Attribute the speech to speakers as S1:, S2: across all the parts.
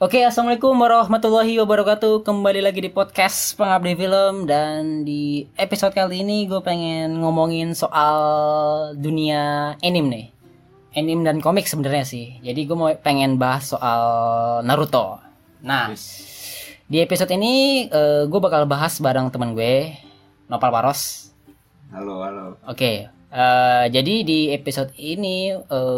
S1: Oke, assalamualaikum warahmatullahi wabarakatuh. Kembali lagi di podcast pengabdi film dan di episode kali ini gue pengen ngomongin soal dunia anime nih, anime dan komik sebenarnya sih. Jadi gue mau pengen bahas soal Naruto. Nah, di episode ini eh, gue bakal bahas bareng teman gue Nopal Paros.
S2: Halo, halo.
S1: Oke, eh, jadi di episode ini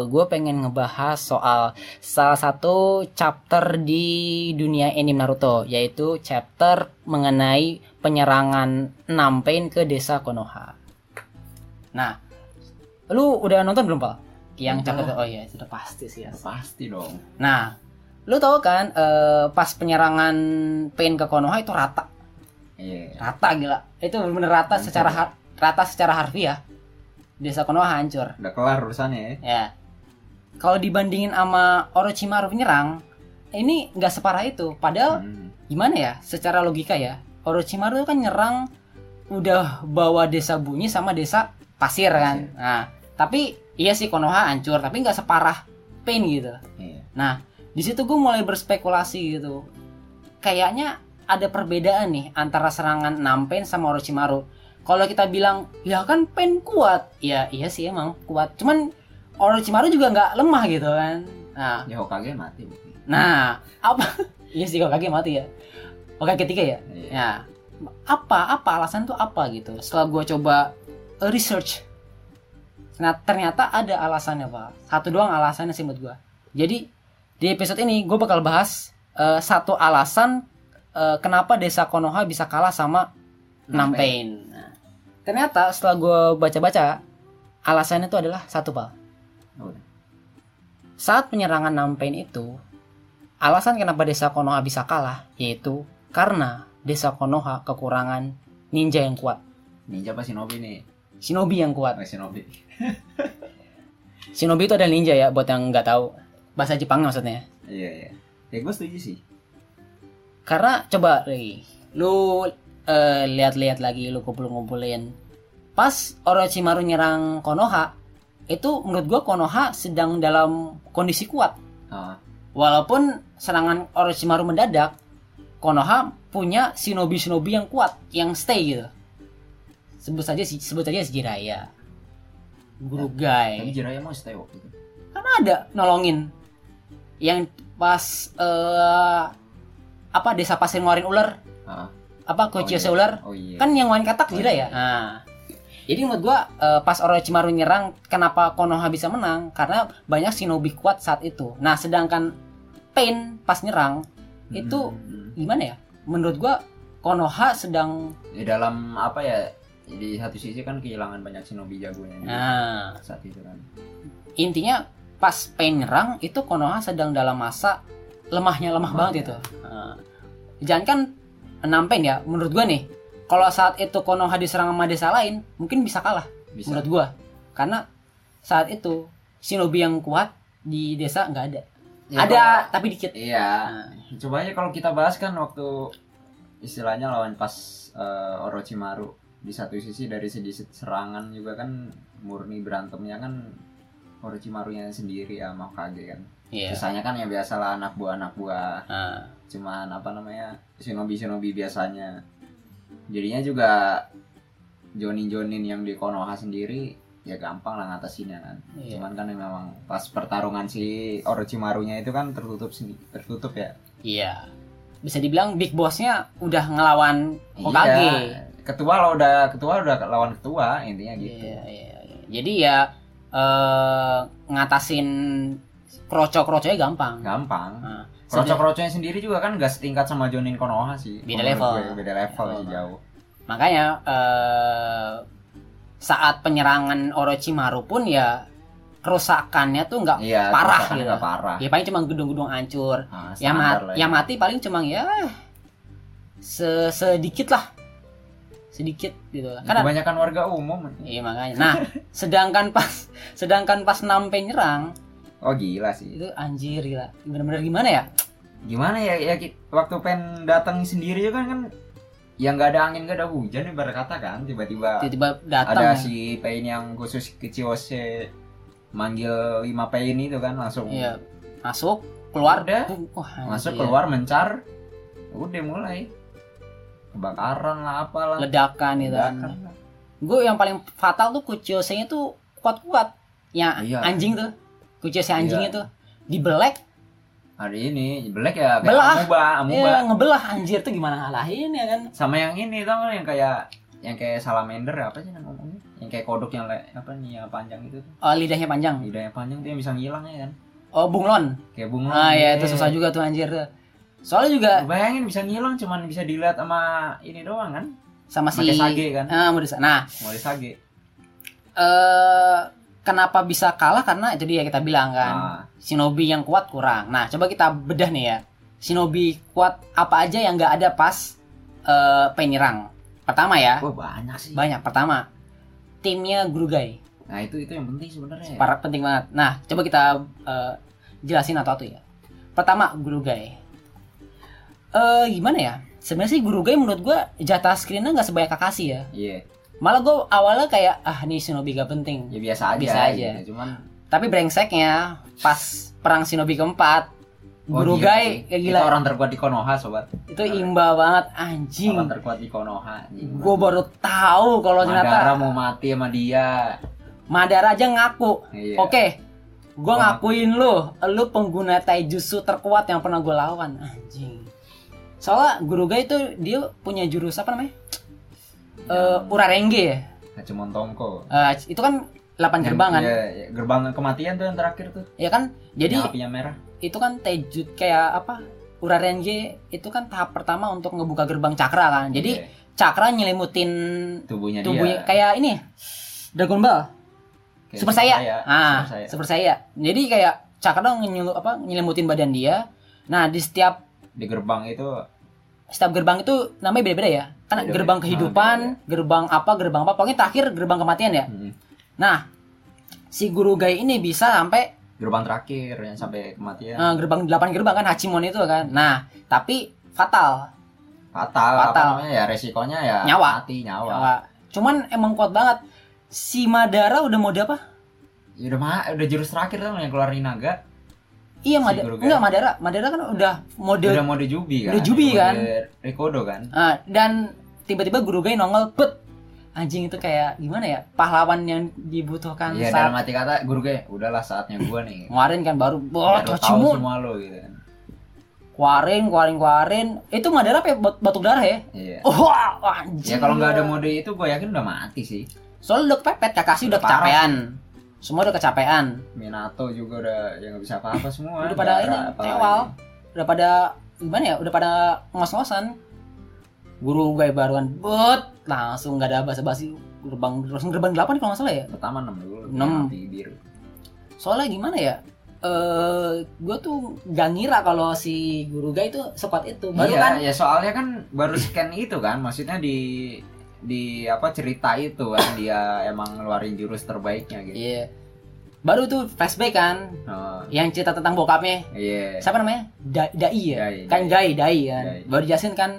S1: gue pengen ngebahas soal salah satu chapter di dunia anime Naruto, yaitu chapter mengenai penyerangan 6 Pain ke desa Konoha. Nah, lu udah nonton belum, Pak? Yang
S2: Udah.
S1: chapter oh iya, sudah pasti sih ya.
S2: Pasti dong.
S1: Nah, lu tahu kan eh, pas penyerangan Pain ke Konoha itu rata,
S2: Iya.
S1: rata gila. Itu bener-bener rata
S2: Hancur.
S1: secara har- rata secara harfiah. Desa Konoha hancur.
S2: Udah kelar urusannya ya.
S1: Ya. Kalau dibandingin sama Orochimaru nyerang, ini nggak separah itu. Padahal
S2: Hmm.
S1: gimana ya? Secara logika ya, Orochimaru itu kan nyerang udah bawa desa bunyi sama desa pasir kan. Nah, tapi iya sih Konoha hancur, tapi nggak separah Pain gitu.
S2: Iya.
S1: Nah, di situ gue mulai berspekulasi gitu. Kayaknya ada perbedaan nih antara serangan 6 Pain sama Orochimaru. Kalau kita bilang, ya kan Pain kuat. Ya, iya sih emang kuat. Cuman Orochimaru juga nggak lemah gitu kan. Nah,
S2: Ya Hokage mati.
S1: nah apa? iya sih Hokage mati ya. Hokage ketiga ya.
S2: Iya.
S1: Ya, apa apa alasan tuh apa gitu? Setelah gue coba eh, research, nah ternyata ada alasannya pak. Satu doang alasannya sih menurut gue. Jadi di episode ini gue bakal bahas eh, satu alasan eh, kenapa desa Konoha bisa kalah sama Nampen. Nah, ternyata setelah gue baca-baca alasannya tuh adalah satu pak
S2: Oh, Udah.
S1: saat penyerangan Nampen itu, alasan kenapa desa Konoha bisa kalah yaitu karena desa Konoha kekurangan ninja yang kuat,
S2: Ninja apa Shinobi nih?
S1: shinobi yang kuat.
S2: Pakai Shinobi.
S1: Shinobi itu adalah ninja ya buat yang nggak tahu bahasa Jepang maksudnya.
S2: Iya, iya. Ya gue setuju sih.
S1: Karena coba Ri, lu eh, lihat-lihat lagi, lu kumpul-kumpulin. Pas Orochimaru nyerang Konoha, itu menurut gua Konoha sedang dalam kondisi kuat.
S2: Ah,
S1: Walaupun serangan Orochimaru mendadak, Konoha punya shinobi-shinobi yang kuat, yang stay gitu. Sebut saja si- sebut saja si Jiraiya. Guru
S2: Ya, tapi
S1: Gai.
S2: Jiraiya mau stay waktu itu.
S1: Karena ada nolongin. Yang pas eh apa desa pasir ngeluarin ular,
S2: Ah,
S1: apa Kochiyose ular,
S2: oh iya.
S1: kan yang main katak
S2: Oh, iya.
S1: Jiraiya. Nah. Jadi menurut gua eh, pas Orochimaru nyerang, kenapa Konoha bisa menang? Karena banyak shinobi kuat saat itu. Nah, sedangkan Pain pas nyerang itu
S2: Hmm.
S1: gimana ya menurut gua Konoha sedang
S2: Di dalam apa ya? Di satu sisi kan kehilangan banyak Shinobi jagonya juga
S1: nah
S2: saat itu kan.
S1: intinya pas Pain nyerang itu Konoha sedang dalam masa lemahnya lemah
S2: Lemah,
S1: banget
S2: ya.
S1: itu Nah, jangan kan enam Pain ya menurut gua nih kalau saat itu Konoha diserang sama desa lain mungkin bisa kalah
S2: Bisa.
S1: menurut gua karena saat itu shinobi yang kuat di desa nggak ada
S2: Ya,
S1: ada
S2: kalau-
S1: tapi dikit
S2: Iya.
S1: Nah,
S2: Coba aja kalau kita bahas kan waktu istilahnya lawan pas eh, Orochimaru di satu sisi dari segi serangan juga kan murni berantemnya kan Orochimarunya sendiri sama Hokage kan.
S1: iya
S2: Sisanya kan ya biasalah anak buah anak buah
S1: Nah,
S2: cuman apa namanya shinobi shinobi biasanya. Jadinya juga Jonin Jonin yang di Konoha sendiri ya gampang lah ngatasinnya kan.
S1: iya.
S2: Cuman kan memang pas pertarungan si Orochimarunya itu kan tertutup sendi- tertutup ya
S1: Iya. Bisa dibilang big bossnya udah ngelawan Hokage.
S2: Iya. Ketua lo udah ketua udah lawan ketua intinya gitu.
S1: Iya, iya, iya. Jadi ya eh, ngatasin kroco-kroconya gampang.
S2: Gampang.
S1: Nah, sebe-
S2: Kroco-kroconya sendiri juga kan gak setingkat sama Jonin Konoha sih.
S1: Beda
S2: Menurut
S1: level.
S2: gue, beda level
S1: Level
S2: sih
S1: banget.
S2: jauh.
S1: Makanya eh, saat penyerangan Orochimaru pun ya kerusakannya tuh nggak
S2: Iya.
S1: Parah
S2: kerusakannya
S1: gitu.
S2: nggak parah.
S1: ya paling cuma gedung-gedung hancur.
S2: Ah,
S1: Yang,
S2: standar
S1: ma-
S2: lah
S1: yang mati paling cuma ya se- sedikit lah. Sedikit gitu.
S2: Ya,
S1: Kan
S2: Kebanyakan warga umum.
S1: Iya makanya. Nah, sedangkan pas sedangkan pas nampen nyerang
S2: Oh gila sih.
S1: itu anjir gila. Bener-bener gimana ya?
S2: Gimana ya, ya ki- waktu pen datang sendiri juga kan kan yang nggak ada angin nggak ada hujan ibarat kata kan tiba-tiba
S1: Tiba-tiba
S2: ada
S1: datang. ya.
S2: si Pain yang khusus ke Ciyose manggil lima Pain itu kan langsung
S1: Iya, masuk keluar
S2: Udah.
S1: bu- wah,
S2: masuk
S1: anjir.
S2: keluar mencar udah mulai kebakaran lah apalah
S1: ledakan gitu kan
S2: Ledakan lah.
S1: gue yang paling fatal tuh kuciosenya tuh kuat-kuat ya
S2: Iya.
S1: anjing tuh kuciose anjingnya
S2: Iya.
S1: tuh dibelek
S2: hari ini belek ya kayak
S1: Belah.
S2: amuba amuba
S1: ya, ngebelah anjir tuh gimana ngalahin ya kan
S2: sama yang ini tau nggak yang kayak yang kayak salamander apa sih yang ngomongnya yang kayak kodok yang le- apa nih yang panjang itu tuh.
S1: oh, lidahnya panjang
S2: lidahnya panjang tuh yang bisa ngilang ya kan
S1: oh bunglon
S2: kayak bunga
S1: ah ya
S2: iya.
S1: itu susah juga tuh anjir tuh soalnya juga
S2: bayangin bisa ngilang cuman bisa dilihat sama ini doang kan
S1: sama si
S2: pakai sage kan
S1: Ah, mau disa- nah
S2: mulai sage
S1: eh kenapa bisa kalah karena itu dia kita bilang kan
S2: nah,
S1: shinobi yang kuat kurang nah coba kita bedah nih ya shinobi kuat apa aja yang nggak ada pas eh penyerang pertama ya
S2: Ah. wah banyak sih
S1: banyak pertama timnya Gurugai
S2: nah itu itu yang penting sebenarnya
S1: Ya. para penting banget nah coba kita eh, jelasin atau satu ya pertama Gurugai eh gimana ya sebenarnya sih Gurugai menurut gua jatah screennya nggak sebanyak Kakashi ya
S2: iya
S1: malah gua awalnya kayak ah nih Shinobi gak penting
S2: ya biasa aja
S1: Bisa aja.
S2: gitu. cuman
S1: tapi brengseknya pas perang Shinobi keempat Gurugai ya
S2: kayak
S1: gila
S2: Oh, iya itu orang terkuat di Konoha sobat
S1: itu imba banget anjing
S2: orang terkuat di Konoha
S1: gue baru tahu kalau
S2: Madara
S1: ternyata
S2: mau mati sama dia
S1: Madara aja ngaku
S2: Iya.
S1: Oke, eh, gue
S2: Wah.
S1: ngakuin lu, lu pengguna taijutsu terkuat yang pernah gue lawan, anjing. Soalnya Guruga itu dia punya jurus apa namanya? Eh
S2: Yang-
S1: Urarenge ya.
S2: Hachimon Tomko.
S1: Eh, itu kan 8 gerbang kan?
S2: Iya, iya, gerbang kematian tuh yang terakhir tuh.
S1: Ya kan? Jadi
S2: yang apinya merah.
S1: itu kan taijut kayak apa? Urarenge itu kan tahap pertama untuk ngebuka gerbang cakra kan. Jadi
S2: Iya,
S1: cakra nyelimutin
S2: tubuhnya, dia.
S1: tubuhnya kayak ini. Dragon Ball.
S2: Kayak
S1: Super saya. Ah,
S2: Super saya.
S1: super saya. Jadi kayak cakra nyelup apa nyelimutin badan dia. Nah, di setiap
S2: Di gerbang itu
S1: setiap gerbang itu namanya beda-beda ya. Kan
S2: Beda-beda.
S1: gerbang
S2: Ah,
S1: kehidupan, gerbang apa, gerbang apa. Pokoknya terakhir gerbang kematian ya.
S2: hmm,
S1: Nah, si guru Gai ini bisa sampai
S2: gerbang terakhir yang sampai kematian.
S1: eh, gerbang 8 gerbang kan Hachimon itu kan. Nah, tapi fatal.
S2: Fatal, apa
S1: Fatal.
S2: namanya ya resikonya ya
S1: Nyawa.
S2: mati nyawa.
S1: Wah, Cuman emang kuat banget. Si Madara udah mode apa?
S2: Ya udah mah udah jurus terakhir tuh yang keluar naga.
S1: Iya,
S2: Si
S1: Madara.
S2: Guru Gai.
S1: Enggak, Madara. Madara kan udah mode
S2: Udah mode Jubi kan.
S1: Udah Jubi
S2: Mode
S1: kan.
S2: Rikodo kan.
S1: Ah, dan tiba-tiba guru gue nongol put anjing itu kayak gimana ya pahlawan yang dibutuhkan
S2: Iya
S1: saat
S2: dalam hati kata guru gue, udahlah saatnya gua nih.
S1: kemarin kan baru
S2: Biar lu
S1: wah
S2: Iya, tahu
S1: Tochimun
S2: semua lo gitu kan.
S1: kuarin kuarin kuarin itu Madara apa ya? Bat- batuk darah ya
S2: Iya.
S1: wah anjing
S2: Ya kalau nggak ada mode itu gue yakin udah mati sih.
S1: soalnya udah kepepet Kakashi udah
S2: Udah parah.
S1: kecapean semua udah kecapean
S2: Minato juga udah ya nggak bisa apa-apa semua.
S1: udah pada
S2: Dara,
S1: ini
S2: apalagi.
S1: tewal udah pada gimana ya udah pada ngos-ngosan guru gue baruan but langsung nggak ada basa-basi gerbang langsung gerbang 8 kalau nggak salah ya
S2: Pertama 6 dulu.
S1: Enam.
S2: Mati biru.
S1: soalnya gimana ya eh gue tuh gak ngira kalau si guru Guy itu sekuat itu baru
S2: iya,
S1: kan
S2: ya soalnya kan baru scan itu kan, maksudnya di di apa cerita itu kan dia emang ngeluarin jurus terbaiknya gitu.
S1: iya baru tuh flashback kan
S2: Oh,
S1: yang cerita tentang bokapnya
S2: Iya.
S1: siapa namanya Da- dai ya
S2: Dai,
S1: kan Guy dai kan
S2: Dai.
S1: baru jelasin kan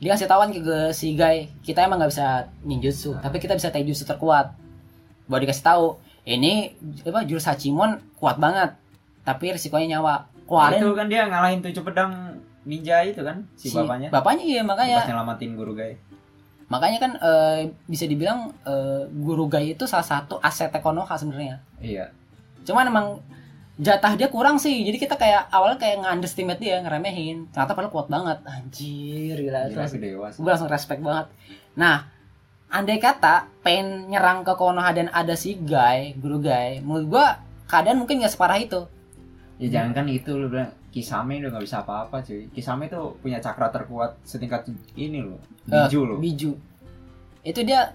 S1: dia kasih tawan ke, ke si Guy kita emang nggak bisa ninjutsu
S2: Nah.
S1: tapi kita bisa taijutsu terkuat baru dikasih tahu ini apa jurus Hachimon kuat banget tapi risikonya nyawa keluarin
S2: Itu kan dia ngalahin tujuh pedang ninja itu kan si, bapaknya.
S1: bapaknya iya makanya
S2: Pas nyelamatin guru guys.
S1: Makanya kan eh, bisa dibilang eh, Guru Gai itu salah satu aset Konoha sebenarnya.
S2: Iya.
S1: Cuman emang jatah dia kurang sih. Jadi kita kayak awalnya kayak nge-underestimate dia, ngeremehin. Ternyata padahal kuat banget. Anjir, gila. itu
S2: Gila
S1: langsung-
S2: sih dewa sih.
S1: Gue langsung respect banget. Nah, andai kata pengen nyerang ke Konoha dan ada si Gai, Guru Gai, menurut gua keadaan mungkin nggak separah itu.
S2: Ya jangan kan itu lu bilang Kisame udah nggak bisa apa-apa cuy. Kisame tuh punya cakra terkuat setingkat ini loh.
S1: Eh,
S2: Biju loh.
S1: Biju. Itu dia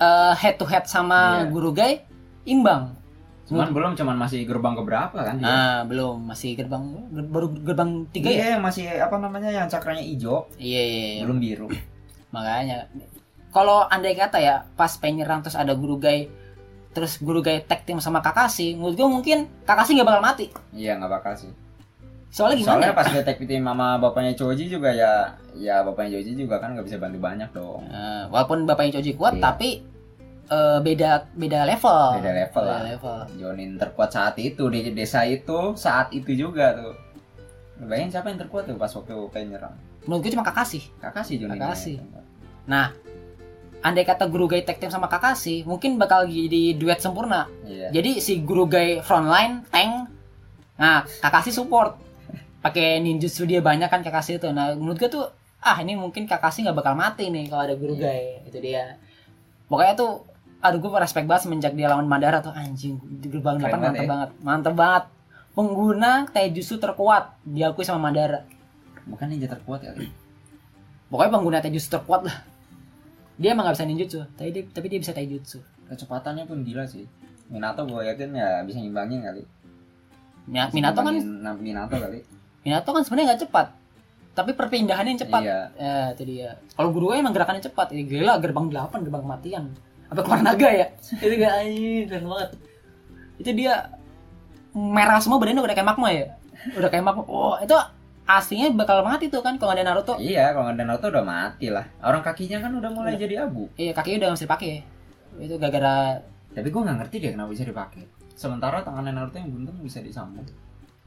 S1: eh, head to head sama
S2: Iya.
S1: Guru Gai imbang.
S2: Cuman belum cuman masih gerbang keberapa kan dia.
S1: Ah, belum, masih gerbang ger- baru gerbang tiga ya?
S2: Iya, yang masih apa namanya yang cakranya hijau,
S1: Iya, iya, iya.
S2: belum biru.
S1: Makanya kalau andai kata ya pas penyerang terus ada guru guy terus guru guy tag team sama Kakashi, menurut gue mungkin Kakashi nggak bakal mati.
S2: Iya, nggak bakal sih.
S1: Soalnya gimana?
S2: Soalnya
S1: ya?
S2: pas detektif tim mama bapaknya Choji juga ya, ya bapaknya Choji juga kan nggak bisa bantu banyak dong.
S1: Eh, walaupun bapaknya Choji
S2: Iya.
S1: kuat tapi eh, beda beda level.
S2: Beda level
S1: Ah, Beda
S2: lah.
S1: level.
S2: Jonin terkuat saat itu di desa itu saat itu juga tuh. Lu Bayangin siapa yang terkuat tuh pas waktu kayak nyerang.
S1: Menurut gue cuma Kakashi.
S2: Kakashi Jonin.
S1: Kakashi.
S2: yang terkuat.
S1: Andai kata Gurugai tag team sama Kakashi, mungkin bakal jadi duet sempurna.
S2: Iya.
S1: Jadi si Gurugai frontline tank, nah Kakashi support. Pakai ninjutsu dia banyak kan Kakashi itu. Nah, menurut gue tuh ah ini mungkin Kakashi nggak bakal mati nih kalau ada
S2: Iya.
S1: Gurugai. Itu dia. Pokoknya tuh aduh gue respect banget semenjak dia lawan Madara tuh anjing di gerbang
S2: Keren banget
S1: 8 mantep
S2: ya.
S1: banget. Mantep banget. Pengguna Taijutsu terkuat diakui sama Madara.
S2: Bukan ninja terkuat ya? kali.
S1: pokoknya pengguna taijutsu terkuat lah dia emang gak bisa ninjutsu tapi dia, tapi dia bisa taijutsu
S2: Kecepatannya pun gila sih. Minato gue yakin ya bisa ngimbangin kali.
S1: Mina-
S2: Bisa
S1: Minato kan
S2: ngimbangin Nam- Minato kali.
S1: Minato kan sebenarnya nggak cepat tapi perpindahannya yang cepat
S2: Iya.
S1: eh itu dia kalau guru emang gerakannya cepat ini gila gerbang 8 gerbang kematian apa keluar naga ya itu gak anjir keren banget itu dia merah semua badannya udah kayak magma ya udah kayak magma oh itu aslinya bakal mati tuh kan kalau nggak ada Naruto
S2: Iya, kalau nggak ada Naruto udah mati lah. Orang kakinya kan udah mulai
S1: Udah.
S2: jadi abu.
S1: iya kakinya udah nggak bisa dipakai itu gara-gara
S2: Tapi gue nggak ngerti deh kenapa bisa dipakai. Sementara tangannya Naruto yang buntung bisa disambung.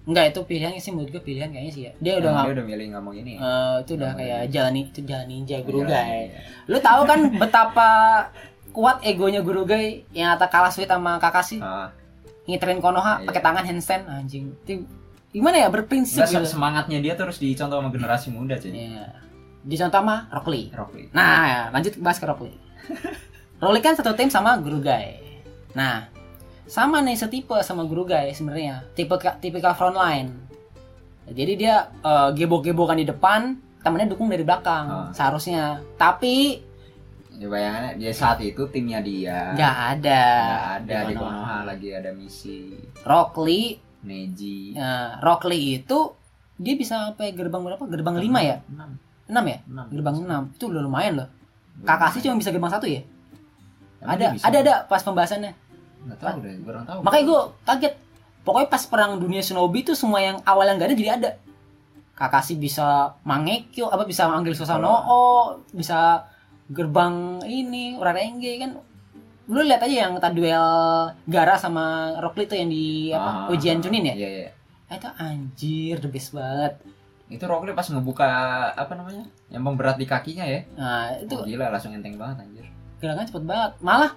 S1: enggak itu pilihannya sih menurut gue pilihan kayaknya sih ya dia udah
S2: Emang
S1: nggak
S2: dia udah milih nggak mau ini. ya?
S1: Eh, itu udah
S2: Namanya.
S1: kayak jalan ni- itu jalan ninja
S2: Iya,
S1: Gurugai.
S2: iya.
S1: Lu tahu kan betapa kuat egonya Gurugai yang atau kalah sweet sama Kakashi
S2: Ah,
S1: ngiterin Konoha
S2: Iya.
S1: pakai tangan handstand anjing. Itu gimana ya berprinsip
S2: enggak,
S1: gitu.
S2: semangatnya dia terus dicontoh sama generasi muda cuy.
S1: Iya. Di contoh mah Rock Lee.
S2: Rock Lee.
S1: Nah, lanjut bahas ke Rock Lee. Rock Lee kan satu tim sama Gurugai. Nah, sama nih setipe sama Gurugai sebenarnya. Tipe tipikal frontline. Jadi dia eh, gebok-gebokan di depan, temennya dukung dari
S2: Ah.
S1: belakang seharusnya. Tapi
S2: Ya bayangannya dia saat itu timnya dia.
S1: nggak ada.
S2: Ah. Nggak ada di
S1: Konoha.
S2: Konoha lagi ada misi
S1: Rock Lee,
S2: Neji.
S1: eh, Rock Lee itu dia bisa sampai gerbang berapa? Gerbang 5 ya?
S2: Enam,
S1: 6 ya?
S2: enam.
S1: Gerbang 6. Itu udah lumayan loh.
S2: Iya. Belum
S1: Kakashi
S2: main.
S1: cuma bisa gerbang satu ya?
S2: Emang dia
S1: Ada,
S2: Iya, bisa?
S1: ada ada pas pembahasannya.
S2: Nggak tahu deh, gue orang tahu.
S1: Makanya gue kaget. Pokoknya pas perang dunia shinobi itu semua yang awalnya nggak ada jadi ada. Kakashi bisa Mangekyo, apa bisa manggil
S2: Iya.
S1: Susanoo, bisa gerbang ini, Urarenge kan. Lu lihat aja yang tadi duel Gara sama Rock Lee tuh yang di apa,
S2: Ah,
S1: ujian Chunin ya.
S2: Iya, iya.
S1: Ah, Itu anjir the best banget.
S2: Itu Rock Lee pas ngebuka apa namanya? Yang pemberat di kakinya ya.
S1: Nah, itu
S2: Itu gila langsung enteng banget anjir.
S1: gerakannya cepet banget. Malah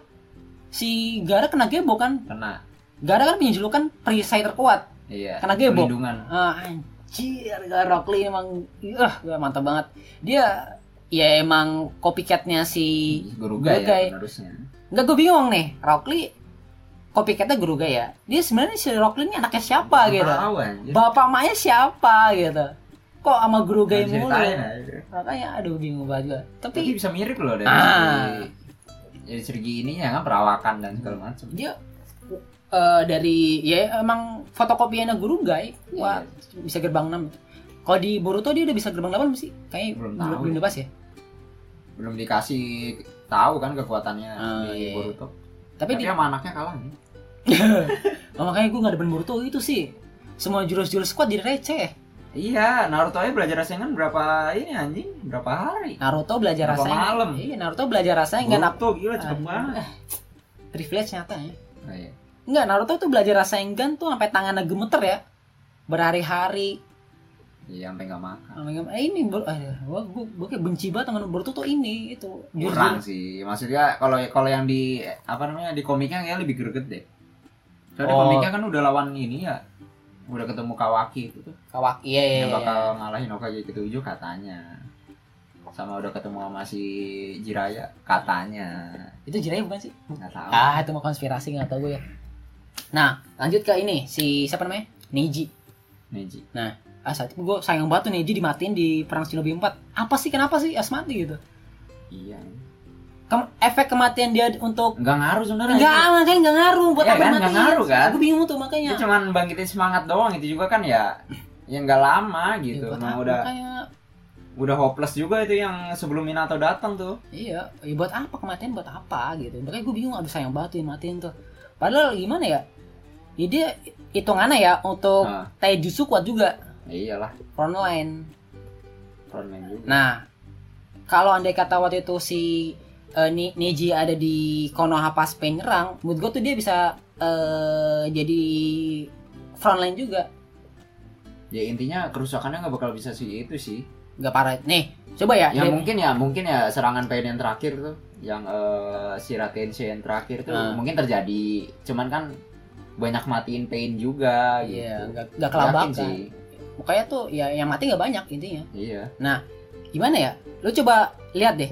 S1: si Gara kena gebok kan.
S2: Kena.
S1: Gara kan punya julukan perisai terkuat.
S2: Iya.
S1: Kena gebok.
S2: Perlindungan.
S1: Ah, anjir, gak Rock Lee emang ah, gak mantap banget. Dia ya emang copycatnya si
S2: Gurugai
S1: Gurugai.
S2: ya penerusnya.
S1: Enggak gue bingung nih, Rock Lee copycatnya Guruga ya. Dia sebenarnya si Rock Lee ini anaknya siapa gitu.
S2: Tahu anjir.
S1: Bapak emaknya siapa gitu. Kok sama Guruga
S2: Nggak bisa
S1: mulu?
S2: ditanya, anjir.
S1: Makanya aduh bingung banget gue. Tapi
S2: Tapi bisa mirip loh dari
S1: Ah.
S2: segi- dari segi ininya kan perawakan dan segala macam.
S1: dia eh, dari ya emang fotokopiannya
S2: Iya,
S1: Gurugai, wah bisa gerbang 6. Kalau di Boruto dia udah bisa gerbang 8 sih? Kayaknya
S2: Belum
S1: belum
S2: tahu
S1: belum
S2: ya.
S1: dibahas ya.
S2: belum dikasih tahu kan kekuatannya
S1: Ah,
S2: di
S1: iya.
S2: Boruto. Tapi,
S1: Tapi, di,
S2: sama anaknya kalah nih.
S1: Oh, makanya gue gak demen Boruto itu sih. Semua jurus-jurus kuat jadi receh.
S2: Iya, Naruto aja belajar Rasengan berapa ini anjing? Berapa hari?
S1: Naruto belajar
S2: Berapa
S1: rasanya.
S2: malam?
S1: Iya, Naruto belajar rasanya enggak nap.
S2: Boruto gila cepet
S1: Ah.
S2: banget.
S1: Privilege nyatanya.
S2: Nah, iya.
S1: Enggak, Naruto tuh belajar Rasengan tuh sampai tangannya gemeter ya. Berhari-hari.
S2: Iya, sampai nggak makan.
S1: Oh my God. Eh, ini bro, gua, gua, gua kayak benci banget sama Boruto tuh ini itu.
S2: Kurang sih. Maksudnya kalau kalau yang di apa namanya di komiknya kayak lebih greget deh. Soalnya di
S1: Oh.
S2: komiknya kan udah lawan ini ya. Udah ketemu Kawaki itu tuh.
S1: Kawak. Iya, iya,
S2: Yang
S1: iya.
S2: bakal ngalahin Hokage ketujuh katanya. Sama udah ketemu sama si Jiraya katanya.
S1: Itu jiraiya bukan sih?
S2: Nggak tahu.
S1: Ah, itu mah konspirasi nggak tau gue ya. Nah, lanjut ke ini si siapa namanya? Neji.
S2: Neji.
S1: Ah, saat itu gue sayang banget tuh Neji dimatiin di perang Shinobi 4. Apa sih kenapa sih As mati gitu?
S2: Iya.
S1: Kem- efek kematian dia untuk
S2: Nggak ngaruh sebenarnya.
S1: enggak makanya enggak ngaruh buat
S2: Iya
S1: apa
S2: kan,
S1: dimatiin?
S2: nggak ngaruh kan?
S1: Gue bingung tuh
S2: Itu
S1: makanya.
S2: cuman bangkitin semangat doang itu juga kan ya. Ya nggak lama
S1: Ya,
S2: gitu.
S1: buat
S2: Emang
S1: apa?
S2: udah
S1: Makanya,
S2: udah hopeless juga itu yang sebelum Minato datang tuh.
S1: iya, ya buat apa kematian buat apa gitu. Makanya gue bingung aduh sayang banget tuh dimatiin tuh. Padahal gimana ya? Ya dia hitungannya ya untuk
S2: Nah,
S1: Taijutsu kuat juga
S2: iyalah,
S1: frontline.
S2: frontman juga.
S1: Nah, kalau andai kata waktu itu si eh, Ni- Neji ada di Konoha pas Pain nyerang, menurut gue tuh dia bisa eh, jadi frontline juga.
S2: ya intinya kerusakannya nggak bakal bisa sih itu sih
S1: Gak parah. Nih, coba ya.
S2: ya
S1: dia-
S2: mungkin ya mungkin ya serangan Pain yang terakhir tuh yang eh si Ratensei yang terakhir tuh
S1: Ah.
S2: mungkin terjadi cuman kan banyak matiin Pain juga gitu
S1: Iya, kan? nggak nggak
S2: Yakin
S1: kelabakan.
S2: sih
S1: Pokoknya tuh ya yang mati nggak banyak intinya.
S2: iya
S1: Gimana ya? Lu coba lihat deh.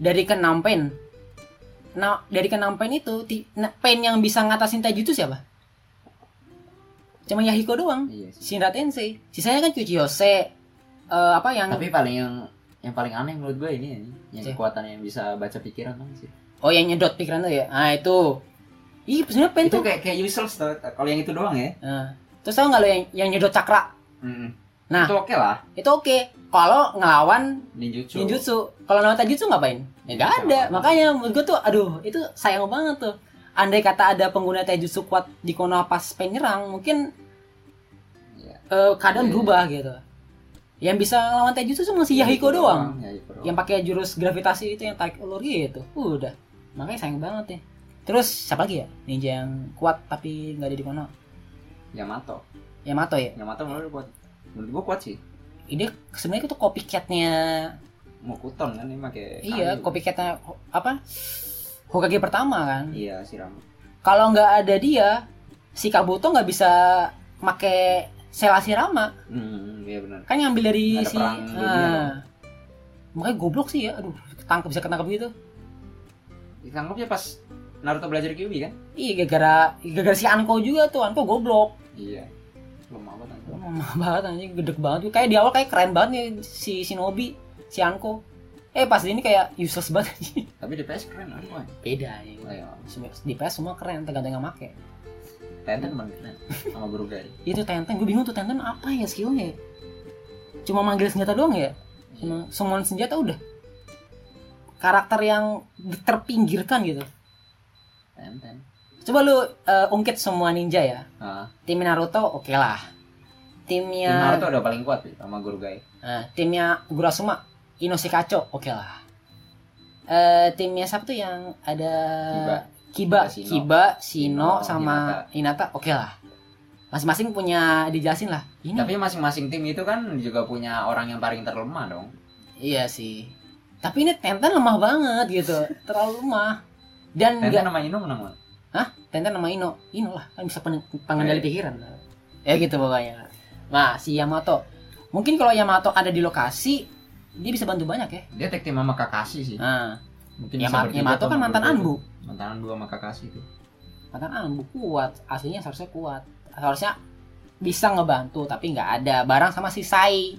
S1: Dari ke pain. Nah, dari ke pain itu ti- nah, pain yang bisa ngatasin Taijutsu siapa? Cuma Yahiko doang.
S2: iya sih
S1: Shinra Tensei. Sisanya kan Kyuchiyose. Eh apa yang
S2: tapi paling yang yang paling aneh menurut gue ini yang
S1: Iya.
S2: kekuatan yang bisa baca pikiran kan sih
S1: Oh yang nyedot pikiran tuh ya? Ah itu. Ih sebenarnya pen
S2: itu
S1: tuh.
S2: kayak kayak useless tuh kalau yang itu doang ya
S1: Nah, terus tau nggak lo yang yang nyedot cakra? Nah.
S2: itu oke lah
S1: Itu oke. Kalau ngelawan
S2: ninjutsu
S1: ninjutsu, kalau ngelawan taijutsu ngapain? Ya nggak ada. Makanya menurut gue tuh, aduh itu sayang banget tuh. Andai kata ada pengguna taijutsu kuat di Konoha pas pen nyerang, mungkin
S2: Iya.
S1: eh, keadaan
S2: Iya.
S1: berubah gitu. Yang bisa ngelawan taijutsu cuma si Yahiko doang.
S2: Yahiko doang.
S1: yang pakai jurus gravitasi itu yang tarik ulur gitu udah makanya sayang banget ya terus siapa lagi ya ninja yang kuat tapi nggak ada di kono
S2: Yamato
S1: Yamato ya
S2: Yamato menurut gue kuat menurut gue kuat sih
S1: ini sebenarnya itu copycatnya
S2: Mokuton kan ini pakai
S1: iya
S2: kayu.
S1: copycatnya ho- apa Hokage pertama kan
S2: iya siram
S1: kalau nggak ada dia si Kabuto nggak bisa make Selasirama
S2: hmm iya benar
S1: kan ngambil
S2: Nggak
S1: dari
S2: ada
S1: si
S2: perang dunia
S1: Ah. makanya goblok sih ya aduh ketangkep bisa ketangkep gitu
S2: ditangkapnya pas Naruto belajar Kyuubi kan
S1: iya gara-gara gara-gara si Anko juga tuh Anko goblok
S2: iya lemah banget kan. Naruto.
S1: Lemah banget anjing, gede banget. Kayak di awal kayak keren banget nih si Shinobi, si Anko. Eh pas ini kayak useless banget anjing.
S2: tapi DPS keren kan iya. wah
S1: Beda ya.
S2: Ayo.
S1: Di PS semua keren, tergantung yang make.
S2: Tenten teman keren sama Burugari
S1: Itu Tenten, gue bingung tuh Tenten apa ya skillnya ya? Cuma manggil senjata doang ya?
S2: Iya,
S1: Cuma summon senjata udah. Karakter yang terpinggirkan gitu.
S2: Tenten
S1: Coba lu eh, ungkit semua ninja ya.
S2: ah
S1: Tim Naruto oke lah.
S2: tim
S1: Timnya
S2: Naruto udah paling kuat sih sama Gurugai
S1: Nah, timnya Gurasuma, Inoshikacho, oke lah. Eh timnya siapa tuh yang ada
S2: Kiba.
S1: Kiba,
S2: Kiba, Shino.
S1: Kiba, Shino,
S2: Shino,
S1: sama Hinata, oke lah. Masing-masing punya dijelasin lah. Ini
S2: tapi masing-masing tim itu kan juga punya orang yang paling terlemah dong
S1: iya sih. Tapi ini Tenten lemah banget gitu, terlalu lemah. Dan
S2: Tenten
S1: enggak
S2: sama Ino menang Wan.
S1: Tenten sama Ino, Ino lah kan bisa pen- pengendali pikiran. Ya gitu pokoknya. Nah, si Yamato. Mungkin kalau Yamato ada di lokasi, dia bisa bantu banyak ya.
S2: dia tag team sama Kakashi sih
S1: Nah,
S2: mungkin bisa
S1: Yamato,
S2: bertiga
S1: Yamato
S2: atau
S1: kan mantan
S2: berdua.
S1: Anbu.
S2: mantan Anbu sama Kakashi tuh
S1: Mantan Anbu "Ah, kuat, aslinya seharusnya kuat. Seharusnya bisa ngebantu tapi nggak ada barang sama si Sai.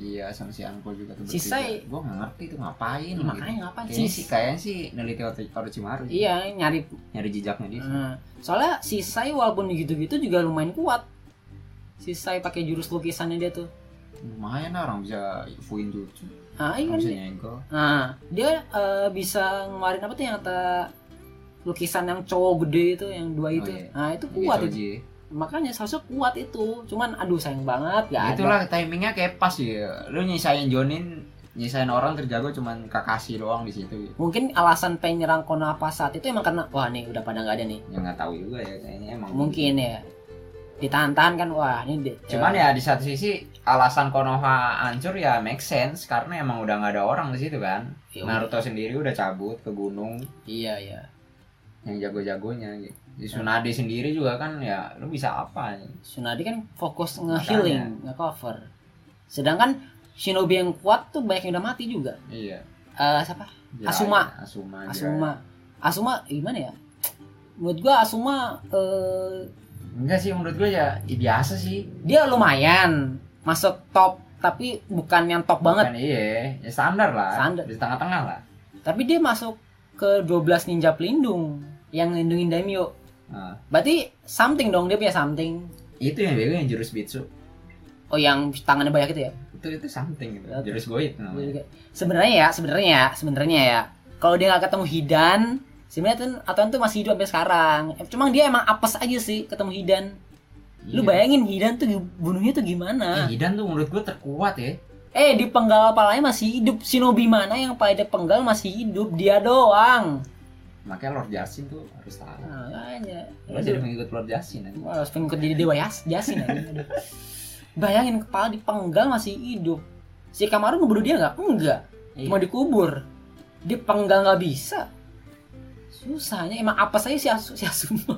S2: Iya sama si Anko juga tuh
S1: Si
S2: bertiga.
S1: Sai- Iya,
S2: Gua nggak ngerti tuh ngapain gitu.
S1: Eh, Makanya ngapain
S2: Kayaknya
S1: sih?
S2: sih kayaknya sih neliti Oro- Orochimaru sih.
S1: Iya, nyari.
S2: Nyari jejaknya dia
S1: Hmm. Soalnya si Sai walaupun gitu-gitu juga lumayan kuat. Si Sai pakai jurus lukisannya dia tuh.
S2: Lumayan lah orang bisa fuin jutsu
S1: Ah, iya
S2: Orang
S1: kan?
S2: bisa nyenggol
S1: Nah, dia eh, bisa ngeluarin apa tuh yang kata lukisan yang cowok gede itu yang
S2: Oh,
S1: dua itu.
S2: iya.
S1: Nah, itu
S2: Iya,
S1: kuat itu.
S2: Choji.
S1: Makanya seharusnya kuat itu. Cuman aduh sayang banget nggak ada.
S2: Itulah timingnya kayak pas ya Lu nyisain Jonin Nyisain orang terjago cuman Kakashi doang di situ
S1: mungkin alasan pengen nyerang Konoha saat itu emang karena wah nih udah pada nggak ada nih
S2: Ya nggak tahu juga ya kayaknya emang
S1: mungkin ya ditahan-tahan kan wah ini de-
S2: Cuman ya di satu sisi alasan Konoha hancur ya make sense karena emang udah nggak ada orang di situ kan.
S1: Ya udah.
S2: Naruto sendiri udah cabut ke gunung
S1: iya iya
S2: yang jago-jagonya gitu. Di Tsunade sendiri juga kan ya lu bisa apa ya?
S1: Tsunade kan fokus nge-healing nge-cover sedangkan Shinobi yang kuat tuh banyak yang udah mati juga
S2: Iya.
S1: Eh siapa
S2: Jiraiya,
S1: Asuma.
S2: Asuma. Jiraiya.
S1: Asuma Asuma gimana ya menurut gua Asuma eh,
S2: Enggak sih menurut gue ya, ya biasa sih.
S1: dia lumayan masuk top tapi bukan yang top banget
S2: Kan iya, ya standar lah.
S1: Standar.
S2: Di tengah-tengah lah.
S1: tapi dia masuk ke 12 ninja pelindung yang ngelindungin Daimyo
S2: Nah,
S1: Berarti something dong dia punya something.
S2: itu yang bego yang jurus bitsu.
S1: Oh yang tangannya banyak itu ya.
S2: Itu itu something gitu.
S1: Oke.
S2: Jurus goib
S1: Gua
S2: namanya.
S1: juga- Sebenarnya ya, sebenarnya ya, sebenarnya ya. Kalau dia nggak ketemu Hidan, sebenarnya tuh Atuan tuh masih hidup sampai sekarang. Eh, Cuma dia emang apes aja sih ketemu Hidan. Lu ah.
S2: Iya.
S1: bayangin Hidan tuh gi- bunuhnya tuh gimana?
S2: Eh, Hidan tuh menurut gue terkuat ya.
S1: Eh di penggal palanya masih hidup Shinobi mana yang pada penggal masih hidup Dia doang
S2: Makanya Lord Jasin tuh harus tahu.
S1: Makanya
S2: Lo jadi mengikut Lord Jasin aja.
S1: Wah, harus pengikut jadi dewa yas, jasin aja. Aduh. Bayangin kepala dipenggal masih hidup. Si Kamaru ngebunuh dia nggak? Enggak.
S2: Iya.
S1: Mau dikubur. Dipenggal nggak bisa. Susahnya emang apa saya si Asu si Asuma.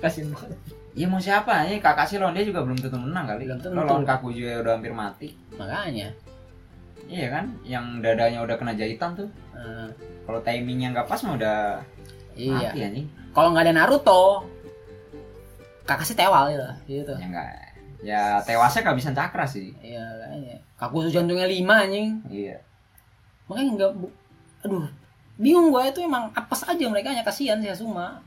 S2: Kasian banget. Iya mau siapa ini kakak sih lawan dia juga belum tentu menang kali.
S1: Belum tentu.
S2: Lo lawan kaku juga udah hampir mati.
S1: Makanya.
S2: Iya kan? Yang dadanya udah kena jahitan tuh.
S1: eh,
S2: Kalau timingnya nggak pas mah udah
S1: iya.
S2: mati anjing.
S1: Kalau nggak ada Naruto, kakak sih tewal gitu. gitu.
S2: Ya enggak. Ya tewasnya kehabisan cakra sih.
S1: Iya, makanya. Kaku jantungnya lima anjing.
S2: Iya.
S1: Makanya nggak, bu- aduh, bingung gue itu emang apa saja mereka hanya kasihan si Asuma.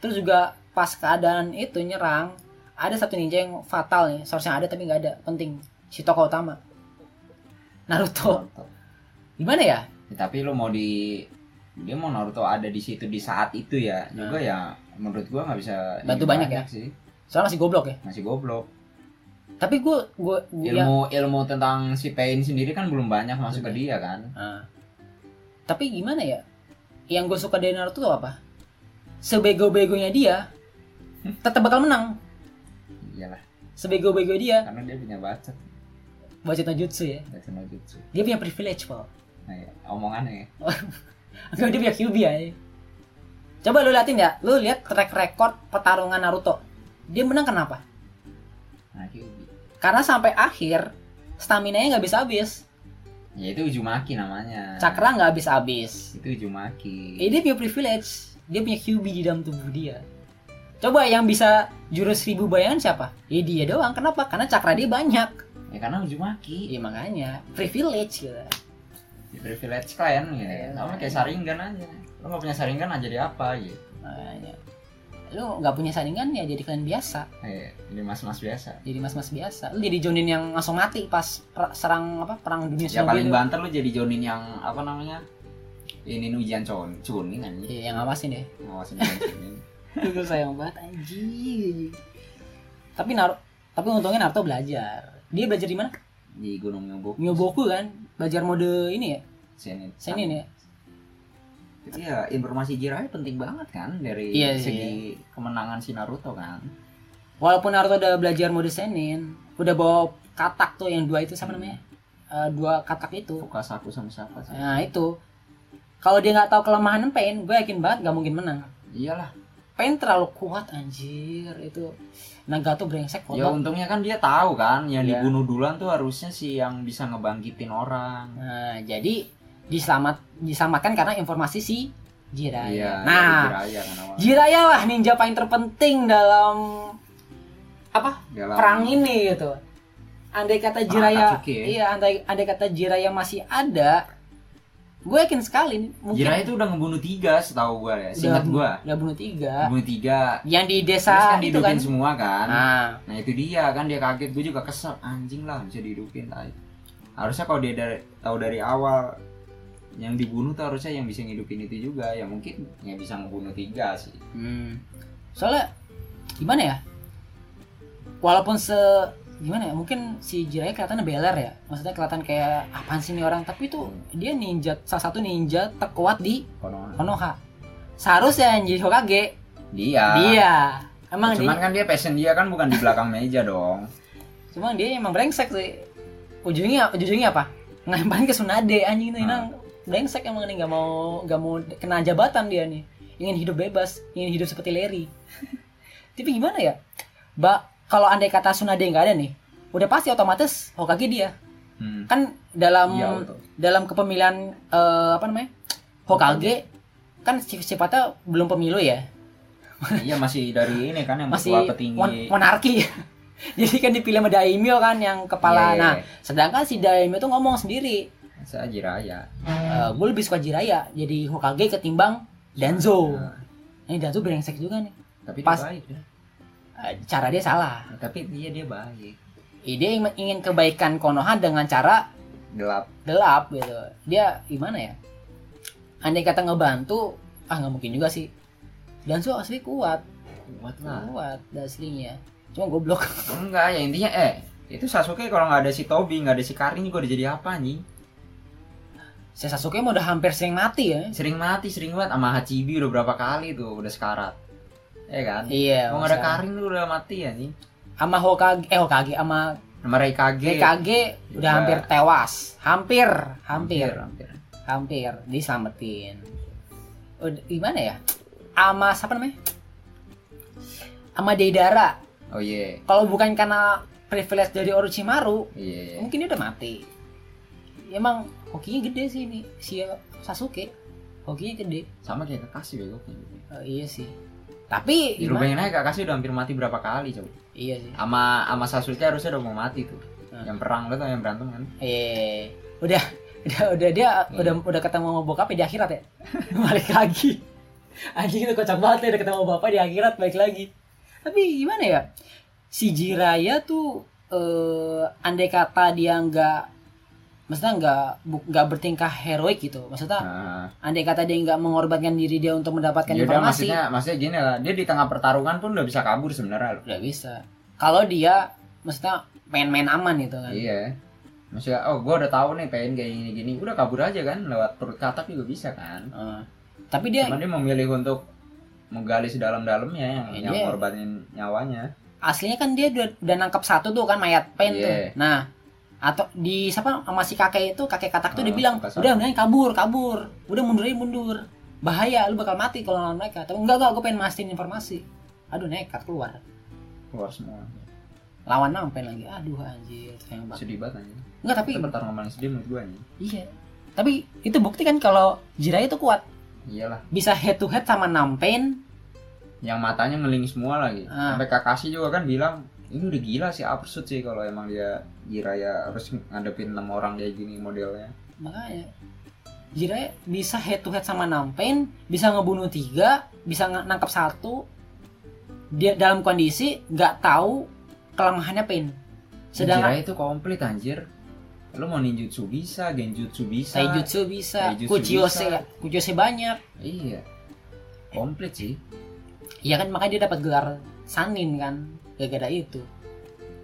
S1: Terus juga pas keadaan itu nyerang, ada satu ninja yang fatal nih, seharusnya ada tapi nggak ada, penting. Si tokoh utama. Naruto. Gimana ya?
S2: Ya, tapi lo mau di dia mau Naruto ada di situ di saat itu ya juga ya menurut gua nggak bisa
S1: Nah. Bantu
S2: ini
S1: banyak ya?
S2: sih
S1: Soalnya masih goblok ya.
S2: masih goblok
S1: Tapi gue, gue, ya.
S2: ilmu ilmu tentang si Pain sendiri kan belum banyak masuk ke dia kan
S1: Ah. Tapi gimana ya? Yang gue suka dari Naruto tuh apa? Sebego-begonya dia, tetap bakal menang.
S2: iyalah
S1: Sebego-bego dia,
S2: karena dia punya bacot
S1: baca jutsu ya.
S2: dari no jutsu
S1: Dia punya privilege, Paul.
S2: nah, ya, omongannya ya
S1: Enggak dia punya QB aja. Coba lu liatin ya, lu lihat track record pertarungan Naruto. Dia menang kenapa?
S2: nah Kyuubi.
S1: Karena sampai akhir stamina-nya nggak habis-habis,
S2: ya itu Uzumaki namanya
S1: cakra nggak habis-habis.
S2: itu Uzumaki
S1: Eh, dia punya privilege, dia punya QB di dalam tubuh dia. Coba yang bisa jurus ribu bayangan siapa? Ya dia doang. Kenapa? Karena cakra dia banyak.
S2: ya karena Uzumaki
S1: Ya makanya privilege gitu.
S2: di privilege klien ya
S1: Iya.
S2: sama kayak Sharingan aja lo nggak punya Sharingan aja jadi apa gitu
S1: Makanya. Lu nggak punya saringan ya jadi kalian biasa.
S2: Eh, jadi mas-mas biasa
S1: jadi mas-mas biasa lu jadi Jonin yang langsung mati pas per- serang apa perang dunia
S2: Ya
S1: Shinobi
S2: paling
S1: lu.
S2: banter lu jadi Jonin yang apa namanya? Ini ujian con cuning anjing.
S1: Iya, yang ngawasin deh
S2: Ngawasin ujian cuning.
S1: itu sayang banget anjing tapi Naruto tapi untungnya Naruto belajar dia belajar di mana
S2: di Gunung Nyobo.
S1: Myoboku kan belajar mode ini ya
S2: Senin.
S1: Senin ya
S2: Tapi ya informasi Jiraiya penting banget kan dari
S1: Iya, iya.
S2: segi kemenangan si Naruto kan.
S1: walaupun Naruto udah belajar mode Senin udah bawa katak tuh yang dua itu siapa namanya Eh, dua katak itu
S2: Fukasaku sama siapa sih?
S1: nah itu kalau dia nggak tahu kelemahan Pain gue yakin banget gak mungkin menang
S2: Iyalah.
S1: Pain terlalu kuat anjir itu Nagato brengsek
S2: Ya
S1: kotak
S2: untungnya kan dia tahu kan yang
S1: Iya.
S2: dibunuh duluan tuh harusnya si yang bisa ngebangkitin orang.
S1: Nah, jadi diselamat diselamatkan karena informasi si
S2: Iya.
S1: Jiraiya. nah,
S2: dari Jiraiya kan awal.
S1: Jiraiya lah ninja paling terpenting dalam apa?
S2: Dalam-
S1: perang ini gitu. Andai kata
S2: Perang
S1: Jiraiya
S2: Akatsuki ya?
S1: iya, andai andai kata Jiraiya masih ada, gue yakin sekali nih, mungkin
S2: Jiraiya itu udah ngebunuh tiga setahu gua ya. Singkat
S1: Udah.
S2: gua.
S1: udah bunuh tiga.
S2: Ngebunuh tiga.
S1: Yang di desa
S2: Iya. Terus kan
S1: itu kan.
S2: dihidupin semua kan.
S1: Nah,
S2: Nah itu dia kan dia kaget gue juga kesel anjing lah bisa dihidupin tai. Harusnya kalau dia dari, tahu dari awal yang dibunuh tuh harusnya yang bisa ngidupin itu juga ya mungkin yang bisa ngebunuh tiga sih.
S1: hmm. soalnya gimana ya? Walaupun se gimana ya mungkin si Jiraiya kelihatannya beler ya maksudnya kelihatan kayak apaan sih nih orang tapi itu dia ninja salah satu ninja terkuat di
S2: Konon
S1: Konoha seharusnya yang jadi Hokage
S2: dia.
S1: dia emang
S2: Cuman
S1: dia
S2: kan dia passion dia kan bukan di belakang meja dong.
S1: cuman dia emang brengsek sih ujungnya ujungnya apa ngelemparin ke Tsunade anjing itu
S2: Hmm.
S1: nang brengsek emang nih nggak mau nggak mau kena jabatan dia nih ingin hidup bebas ingin hidup seperti Larry tapi gimana ya mbak kalau andai kata Tsunade nggak ada nih udah pasti otomatis Hokage dia
S2: Hmm.
S1: kan dalam
S2: Iya, betul.
S1: dalam kepemilian eh, apa namanya Hokage kan sif- sifatnya belum pemilu ya
S2: iya masih dari ini kan yang
S1: masih
S2: ketua petinggi.
S1: mon- monarki jadi kan dipilih sama daimyo kan yang kepala
S2: Iya, iya,
S1: nah
S2: iya.
S1: sedangkan si daimyo tuh ngomong sendiri
S2: Saya Jiraiya.
S1: "Eh, gue lebih suka Jiraiya jadi Hokage ketimbang Danzo
S2: Nah,
S1: ini Danzo brengsek juga nih
S2: tapi
S1: Oh. Pas-
S2: dia baik. ya.
S1: Eh, cara dia salah
S2: Nah, tapi dia dia baik.
S1: Eh, dia ingin- ingin kebaikan Konoha dengan cara
S2: Gelap.
S1: gelap gitu dia gimana ya andai kata ngebantu ah nggak mungkin juga sih Danzo asli kuat
S2: Kuat lah.
S1: kuat aslinya cuma goblok
S2: Enggak, ya intinya eh Itu Sasuke kalau nggak ada si Tobi, nggak ada si Karin juga udah jadi apa nih?
S1: Si Sasuke mah udah hampir sering mati ya.
S2: Sering mati, sering banget sama Hachibi udah berapa kali tuh, udah sekarat. Ya kan?
S1: Iya.
S2: Mau nggak ada
S1: masa-
S2: Karin tuh udah mati ya nih.
S1: Sama Hokage, eh Hokage sama
S2: Sama Raikage.
S1: GKG udah
S2: Udah.
S1: hampir tewas. Hampir, hampir,
S2: Iya. hampir.
S1: hampir diselamatin. Udah, gimana ya? Ama siapa namanya? Ama Deidara.
S2: Oh iya.
S1: Kalau bukan karena privilege dari Orochimaru,
S2: Iya. iya.
S1: mungkin dia udah mati. Emang hokinya gede sih ini si Sasuke. Hokinya gede.
S2: Sama kayak Kakashi beloknya gitu.
S1: Eh, iya sih. Tapi
S2: Ya, lu bayangin
S1: gimana?
S2: aja Kakashi udah hampir mati berapa kali coba.
S1: Iya sih.
S2: Sama sama Sasuke harusnya udah mau mati tuh.
S1: Hmm.
S2: Yang perang lu tuh yang berantem kan.
S1: Eh, udah, udah, udah dia
S2: Hmm.
S1: udah udah ketemu sama bokapnya di akhirat ya. balik lagi. Anjing itu kocak banget ya udah ketemu bapak di akhirat balik lagi. Tapi gimana ya? Si Jiraya tuh eh andai kata dia nggak maksudnya nggak bu- nggak bertingkah heroik gitu. Maksudnya
S2: Nah,
S1: andai kata dia nggak mengorbankan diri dia untuk mendapatkan
S2: ya udah
S1: informasi,
S2: maksudnya maksudnya gini lah, dia di tengah pertarungan pun udah bisa kabur sebenarnya loh.
S1: udah bisa. Kalau dia maksudnya main-main aman gitu kan.
S2: Iya. Maksudnya, oh gua udah tahu nih pengen kayak gini gini, udah kabur aja kan lewat perut katak juga bisa kan.
S1: Eh, tapi dia
S2: Cuman dia memilih untuk menggali sedalam-dalamnya yang
S1: Iya,
S2: yang
S1: dia-
S2: ngorbanin nyawanya.
S1: aslinya kan dia udah, udah nangkep satu tuh kan mayat pen tuh.
S2: Iya.
S1: Nah, atau di siapa sama si kakek itu Ah, kakek katak tuh
S2: Oh,
S1: dia bilang
S2: kakak
S1: udah mendingan kabur kabur udah mundur aja mundur bahaya lu bakal mati kalau lawan mereka tapi enggak enggak gue pengen mastiin informasi aduh nekat keluar
S2: Keluar semua.
S1: lawan nampen lagi aduh anjir sayang banget
S2: Sedih banget anjing.
S1: enggak tapi
S2: Tapi pertarungan paling sedih menurut gua nih.
S1: iya tapi itu bukti kan kalau Jiraiya itu kuat
S2: Iyalah,
S1: bisa head to head sama nampen
S2: yang matanya ngeling semua lagi.
S1: Ah.
S2: Sampai Kakashi juga kan bilang, ini udah gila sih absurd sih kalau emang dia Jiraya harus ngadepin enam orang kayak gini modelnya.
S1: makanya Jiraiya bisa head to head sama Nampen, bisa ngebunuh tiga, bisa nge- nangkap satu. Dia dalam kondisi nggak tahu kelemahannya Pain. Sedangkan
S2: Jiraya itu komplit anjir. Lu mau ninjutsu bisa, genjutsu bisa.
S1: Taijutsu bisa,
S2: Taijutsu
S1: Kuchiyose,
S2: bisa.
S1: Kuchiyose banyak.
S2: Iya. Komplit sih.
S1: Iya kan makanya dia dapat gelar Sanin kan gara-gara itu.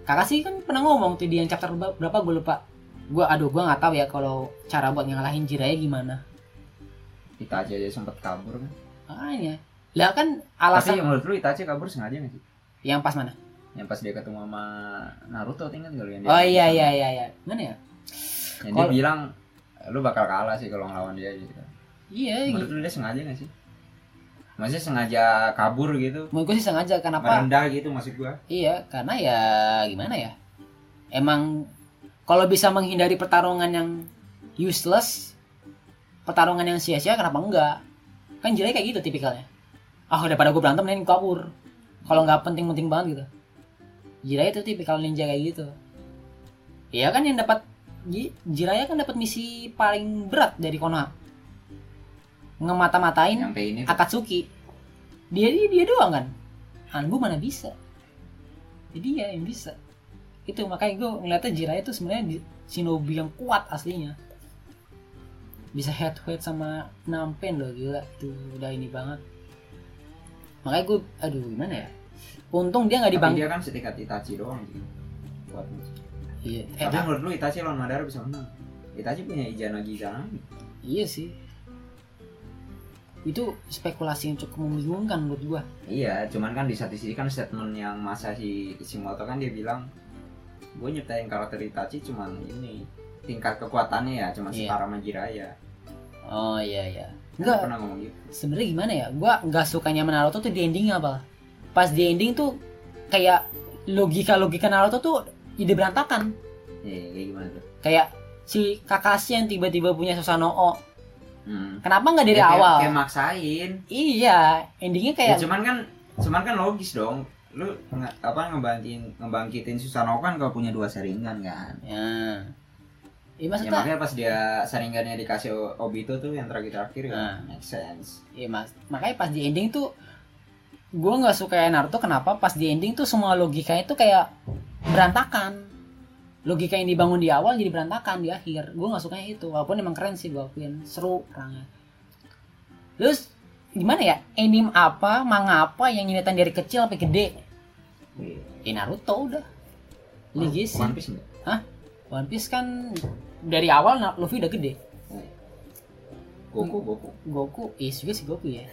S1: Kakak sih kan pernah ngomong tuh di yang chapter ba- berapa gue lupa. Gue aduh gue nggak tahu ya kalau cara buat ngalahin Jiraiya gimana.
S2: Itachi aja sempet kabur kan.
S1: Makanya. Lah kan
S2: Tapi
S1: alasan
S2: yang menurut lu Itachi kabur sengaja nggak sih?
S1: yang pas mana?
S2: Yang pas dia ketemu sama Naruto ingat nggak lu yang dia?
S1: Oh iya iya iya iya. Mana ya?
S2: Yang dia
S1: Kalau-
S2: bilang lu bakal kalah sih kalau ngelawan dia gitu.
S1: Iya,
S2: Menurut
S1: gitu.
S2: lu dia sengaja gak sih? Maksudnya sengaja kabur gitu?
S1: Menurut gue sih sengaja kenapa?
S2: Merendah gitu maksud gua.
S1: Iya, karena ya gimana ya? Emang kalau bisa menghindari pertarungan yang useless, pertarungan yang sia-sia kenapa enggak? Kan jelek kayak gitu tipikalnya. Ah, daripada gue berantem nih kabur. Kalau nggak penting-penting banget gitu. Jiraya itu tipikal ninja kayak gitu. Iya kan yang dapat Ji- Jiraya kan dapat misi paling berat dari Konoha. Ngemata-matain
S2: Nyampe ini tuh.
S1: Eh, Akatsuki dia dia, dia doang kan Hanbu mana bisa jadi dia yang bisa itu makanya gue ngeliatnya Jiraiya itu sebenarnya di- shinobi yang kuat aslinya bisa head to head sama Nampen loh gila itu udah ini banget makanya gue aduh gimana ya untung dia nggak
S2: Tapi
S1: dibang
S2: dia kan setingkat Itachi doang gitu. Buat
S1: iya, eh,
S2: Tapi
S1: ah,
S2: menurut lu Itachi lawan Madara bisa menang? Itachi punya Izanagi Izanami.
S1: iya sih itu spekulasi yang cukup membingungkan buat gue
S2: Iya, cuman kan di satu sisi kan statement yang masa si Kishimoto kan dia bilang gue nyiptain karakter Itachi cuman ini tingkat kekuatannya ya cuma
S1: Iya.
S2: setara sama Jiraiya.
S1: oh iya iya
S2: Dia
S1: enggak
S2: pernah ngomong gitu.
S1: sebenarnya gimana ya gua nggak sukanya sama Naruto tuh di endingnya apa pas di ending tuh kayak logika logika Naruto tuh ide berantakan
S2: Iya, kayak gimana tuh?
S1: kayak si Kakashi yang tiba-tiba punya Susanoo
S2: Hmm.
S1: kenapa nggak
S2: Ya,
S1: dari
S2: kayak-
S1: awal
S2: kayak maksain.
S1: iya
S2: Ya,
S1: endingnya kayak
S2: cuman kan cuman kan logis dong. Lu nge, apa ngebangkitin ngebangkitin Susanoo kan kalau punya dua saringan kan.
S1: ya
S2: Ya
S1: Iya maksudnya,
S2: makanya pas dia saringannya dikasih O- Obito tuh yang terakhir-terakhir
S1: Nah.
S2: ya. Make sense.
S1: iya, mas, makanya pas di ending tuh gua nggak suka ya Naruto kenapa pas di ending tuh semua logikanya tuh kayak berantakan logika yang dibangun di awal jadi berantakan di akhir gue nggak sukanya itu walaupun emang keren sih gue akuin seru perangnya terus gimana ya anime apa manga apa yang ngeliatan dari kecil sampai gede
S2: Iya.
S1: ya Naruto udah Legacy.
S2: One Piece enggak?
S1: One Piece kan dari awal nah, Luffy udah gede.
S2: Goku, Goku.
S1: Goku, iya juga sih Goku ya.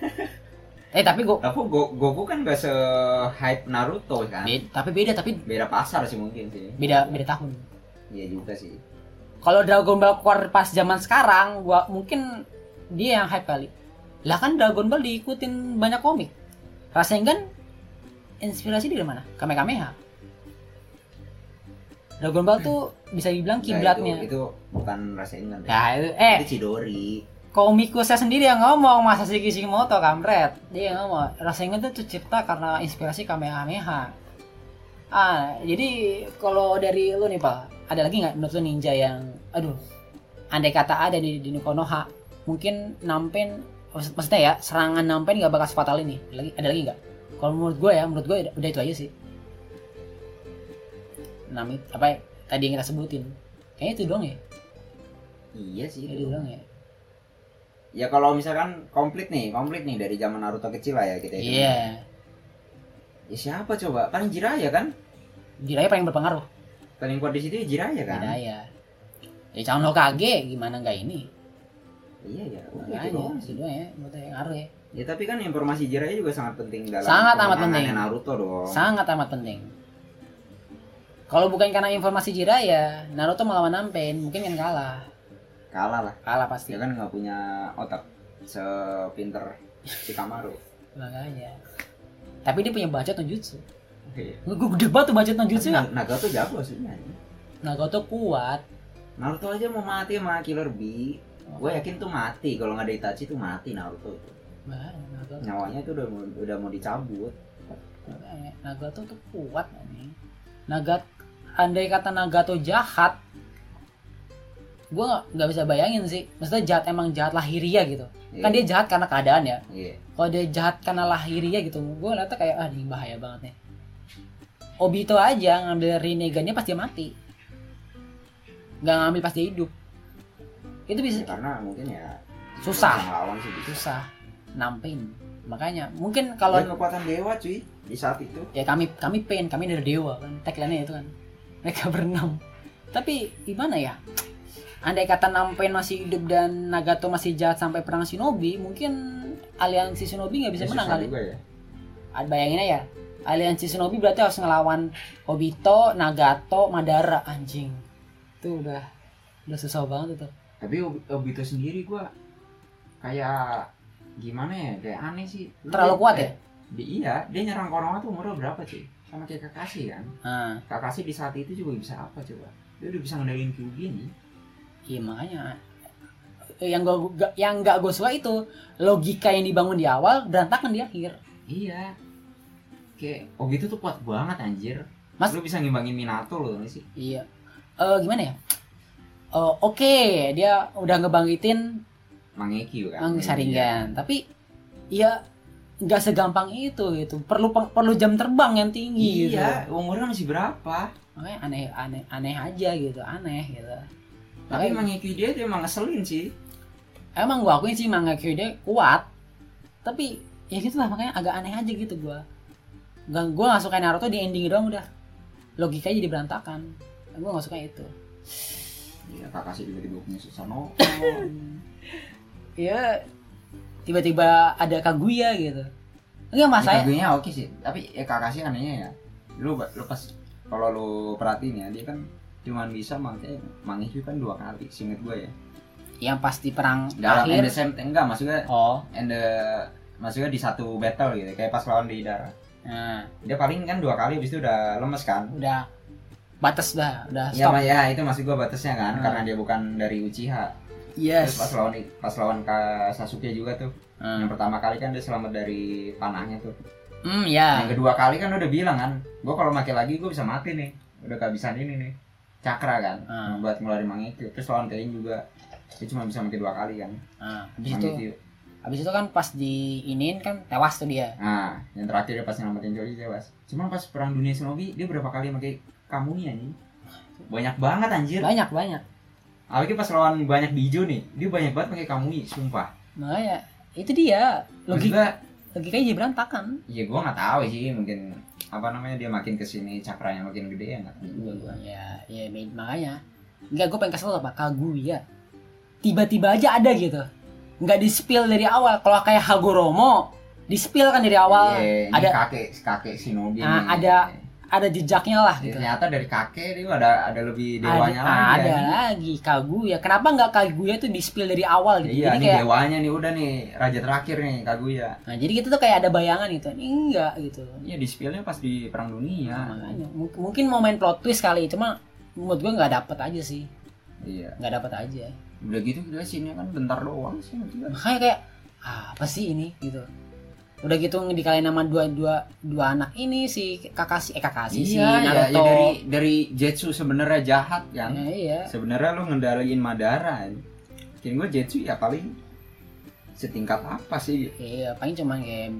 S1: eh tapi Go,
S2: Tapi Go- Goku kan gak se hype Naruto kan.
S1: be- tapi beda tapi
S2: Beda pasar sih mungkin sih.
S1: Iya. beda beda tahun.
S2: Iya juga sih.
S1: Kalau Dragon Ball keluar pas zaman sekarang, gua mungkin dia yang hype kali. Lah kan Dragon Ball diikutin banyak komik. Rasengan inspirasi dari mana? Kamehameha. Dragon Ball tuh bisa dibilang
S2: Nah, itu,
S1: kiblatnya.
S2: itu bukan Rasengan. Ya.
S1: Ya, itu, eh
S2: Itu Chidori.
S1: komikusnya sendiri yang ngomong masa si Kishimoto kampret dia yang ngomong Rasengan itu tercipta karena inspirasi Kamehameha ah jadi kalau dari lu nih pak ada lagi nggak menurut lu ninja yang aduh andai kata ada di, di Konoha mungkin nampen maksud- maksudnya ya serangan nampen nggak bakal fatal ini ada lagi ada lagi nggak kalau menurut gue ya menurut gue udah, udah itu aja sih Nami, apa ya, tadi yang kita sebutin kayaknya itu doang ya
S2: Iya sih.
S1: itu doang ya
S2: Ya kalau misalkan komplit nih, komplit nih dari zaman Naruto kecil lah ya kita.
S1: iya
S2: itu. Ya siapa coba? Paling Jiraiya kan?
S1: Jiraiya ya, paling berpengaruh
S2: Paling kuat di situ ya Jiraiya kan?
S1: Jiraiya ya calon Hokage gimana nggak ini
S2: Iya ya. udah
S1: Makanya,
S2: itu doang
S1: itu
S2: sih.
S1: doang ya menurut saya ngaruh ya
S2: Ya tapi kan informasi Jiraiya juga sangat penting dalam
S1: Sangat amat
S2: pengembangannya
S1: penting.
S2: Naruto dong.
S1: sangat amat penting kalau bukan karena informasi Jiraiya Naruto melawan Nampen mungkin kan kalah
S2: Kalah lah.
S1: kalah pasti
S2: Dia kan nggak punya otak sepinter Shikamaru.
S1: makanya tapi dia punya bacot no jutsu
S2: Iya.
S1: gue gede banget tuh bacot no jutsu ya
S2: Tapi Nagato jago aslinya.
S1: Nagoto kuat
S2: Naruto aja mau mati sama Killer Bee. Gue yakin tuh mati kalau nggak ada Itachi tuh mati Naruto.
S1: Makanya, Nagoto,
S2: Nyawanya tuh udah mau- udah mau dicabut.
S1: makanya. Nagato tuh kuat nih Nagat andai kata Nagato jahat gue nggak bisa bayangin sih maksudnya jahat emang jahat lahiria gitu
S2: Iya.
S1: kan dia jahat karena keadaan ya
S2: Iya.
S1: kalau dia jahat karena lahiriah gitu gue ngeliatnya kayak ah ini bahaya banget nih Obito aja ngambil Rinnegan-nya pas dia mati nggak ngambil pas dia hidup itu bisa
S2: Ya, karena mungkin ya
S1: susah
S2: Lawan sih bisa.
S1: susah nampin makanya mungkin
S2: Kalau
S1: kalau
S2: kekuatan dewa cuy di saat itu.
S1: ya kami kami pain kami dari dewa kan tagline itu kan mereka berenam tapi gimana ya andai kata Nampen masih hidup dan Nagato masih jahat sampai perang Shinobi mungkin aliansi Shinobi nggak bisa
S2: Ya,
S1: menang
S2: susah
S1: kali
S2: juga ya.
S1: Ad- bayangin aja aliansi Shinobi berarti harus ngelawan Obito, Nagato, Madara anjing itu udah udah susah banget itu
S2: Tapi Ob- Obito sendiri gua kayak gimana ya? Kayak aneh sih. Lu
S1: terlalu
S2: dia-
S1: kuat
S2: eh,
S1: ya
S2: Di, iya, dia nyerang Konoha tuh umurnya berapa cuy? Sama kayak Kakashi kan.
S1: nah
S2: Kakashi di saat itu juga bisa apa coba? Dia udah bisa ngendalin Kyuubi nih.
S1: iya makanya Eh, yang gua gua- yang gak gue suka itu logika yang dibangun di awal berantakan di akhir
S2: Iya. Kayak Obito tuh kuat banget anjir.
S1: Mas-
S2: Lu bisa ngimbangin Minato lo nggak sih?
S1: iya Eh gimana ya Eh, oke dia udah ngebangkitin
S2: Mangekyo kan.
S1: Angin saringan. Tapi ya nggak segampang itu gitu. Perlu peng- perlu jam terbang yang tinggi gitu.
S2: Iya, umurnya masih berapa?
S1: Makanya aneh aneh aneh aja gitu, aneh gitu.
S2: Tapi
S1: Makanya
S2: Mangekyo dia tuh emang ngeselin sih.
S1: emang gua akuin sih manga Kyude kuat. Tapi ya gitu lah makanya agak aneh aja gitu gua. Gak, gua gak suka Naruto di ending doang udah. Logikanya jadi berantakan. Gua gak suka itu.
S2: Iya, Kakashi tiba-tiba punya Susanoo.
S1: Ya tiba-tiba ada Kaguya gitu. Enggak
S2: Mas
S1: masalah.
S2: lagunya oke sih, tapi ya Kakashi anehnya ya. Lu ba- lu pas kalau lu perhatiin ya, dia kan cuman bisa pakai Mangekyo kan dua kali, singkat gue ya.
S1: Yang pasti perang
S2: Dalam
S1: akhir.
S2: end the same enggak maksudnya
S1: Oh,
S2: and the maksudnya di satu battle gitu kayak pas lawan Deidara
S1: nah,
S2: dia paling kan dua kali habis itu udah lemes kan
S1: udah batas dah, udah
S2: Iya
S1: stop.
S2: Ma, ya itu maksud gua batasnya kan
S1: Hmm.
S2: karena dia bukan dari Uchiha terus
S1: Yes.
S2: pas lawan pas lawan Ka Sasuke juga tuh yang
S1: Hmm,
S2: pertama kali kan dia selamat dari panahnya tuh
S1: Hmm, ya.
S2: yang kedua kali kan udah bilang kan gua kalau pakai lagi gua bisa mati nih udah kehabisan ini nih cakra kan
S1: Hmm.
S2: buat ngeluarin Mangekyo terus lawan Kain juga dia cuma bisa pakai dua kali kan
S1: Nah, habis itu,
S2: Mangekyo
S1: habis itu kan pas diinin kan tewas tuh dia.
S2: Nah, yang terakhir dia pas nyelamatin Jory tewas. Cuma pas perang dunia Shinobi dia berapa kali pakai kamunya nih? Banyak banget anjir.
S1: Banyak banyak.
S2: Apalagi pas lawan banyak biju nih, dia banyak banget pakai kamui, sumpah.
S1: Makanya itu dia. Logik
S2: Logika
S1: logikanya jadi berantakan
S2: Iya gua nggak tahu sih mungkin apa namanya dia makin kesini cakranya makin gede ya nggak tahu juga gua.
S1: ya ya me- makanya nggak gue pengen kasih tau apa Kaguya ya. tiba-tiba aja ada gitu nggak di spill dari awal kalau kayak Hagoromo di spill kan dari awal
S2: Iya, ini
S1: ada
S2: kakek kakek Shinobi.
S1: Ah,
S2: nih.
S1: ada- ada jejaknya lah
S2: Jadi
S1: gitu
S2: ternyata dari kakek itu ada ada lebih Iya, dewanya lagi. ya.
S1: ada, ada
S2: anjing.
S1: lagi Kaguya kenapa nggak Kaguya tuh di spill dari awal gitu
S2: Iya,
S1: jadi
S2: ini
S1: kayak
S2: dewanya nih udah nih raja terakhir nih Kaguya.
S1: nah jadi kita tuh kayak ada bayangan gitu ini enggak gitu
S2: Iya di spillnya pas di perang dunia.
S1: Ah, makanya mung- mungkin mau main plot twist kali cuma menurut gue nggak dapet aja sih
S2: Iya.
S1: nggak dapet aja
S2: Udah gitu kita sini kan bentar doang sih. gila.
S1: makanya kayak "Ah, apa sih ini gitu udah gitu dikalain nama dua dua dua anak ini si kakak si eh kakak si si
S2: iya, iya, iya,
S1: Naruto
S2: dari dari Jetsu sebenarnya jahat kan.
S1: Ya, iya
S2: Sebenarnya lu ngendaliin Madara. anjing. Mungkin gue Jetsu ya paling setingkat apa sih?
S1: iya paling cuman kayak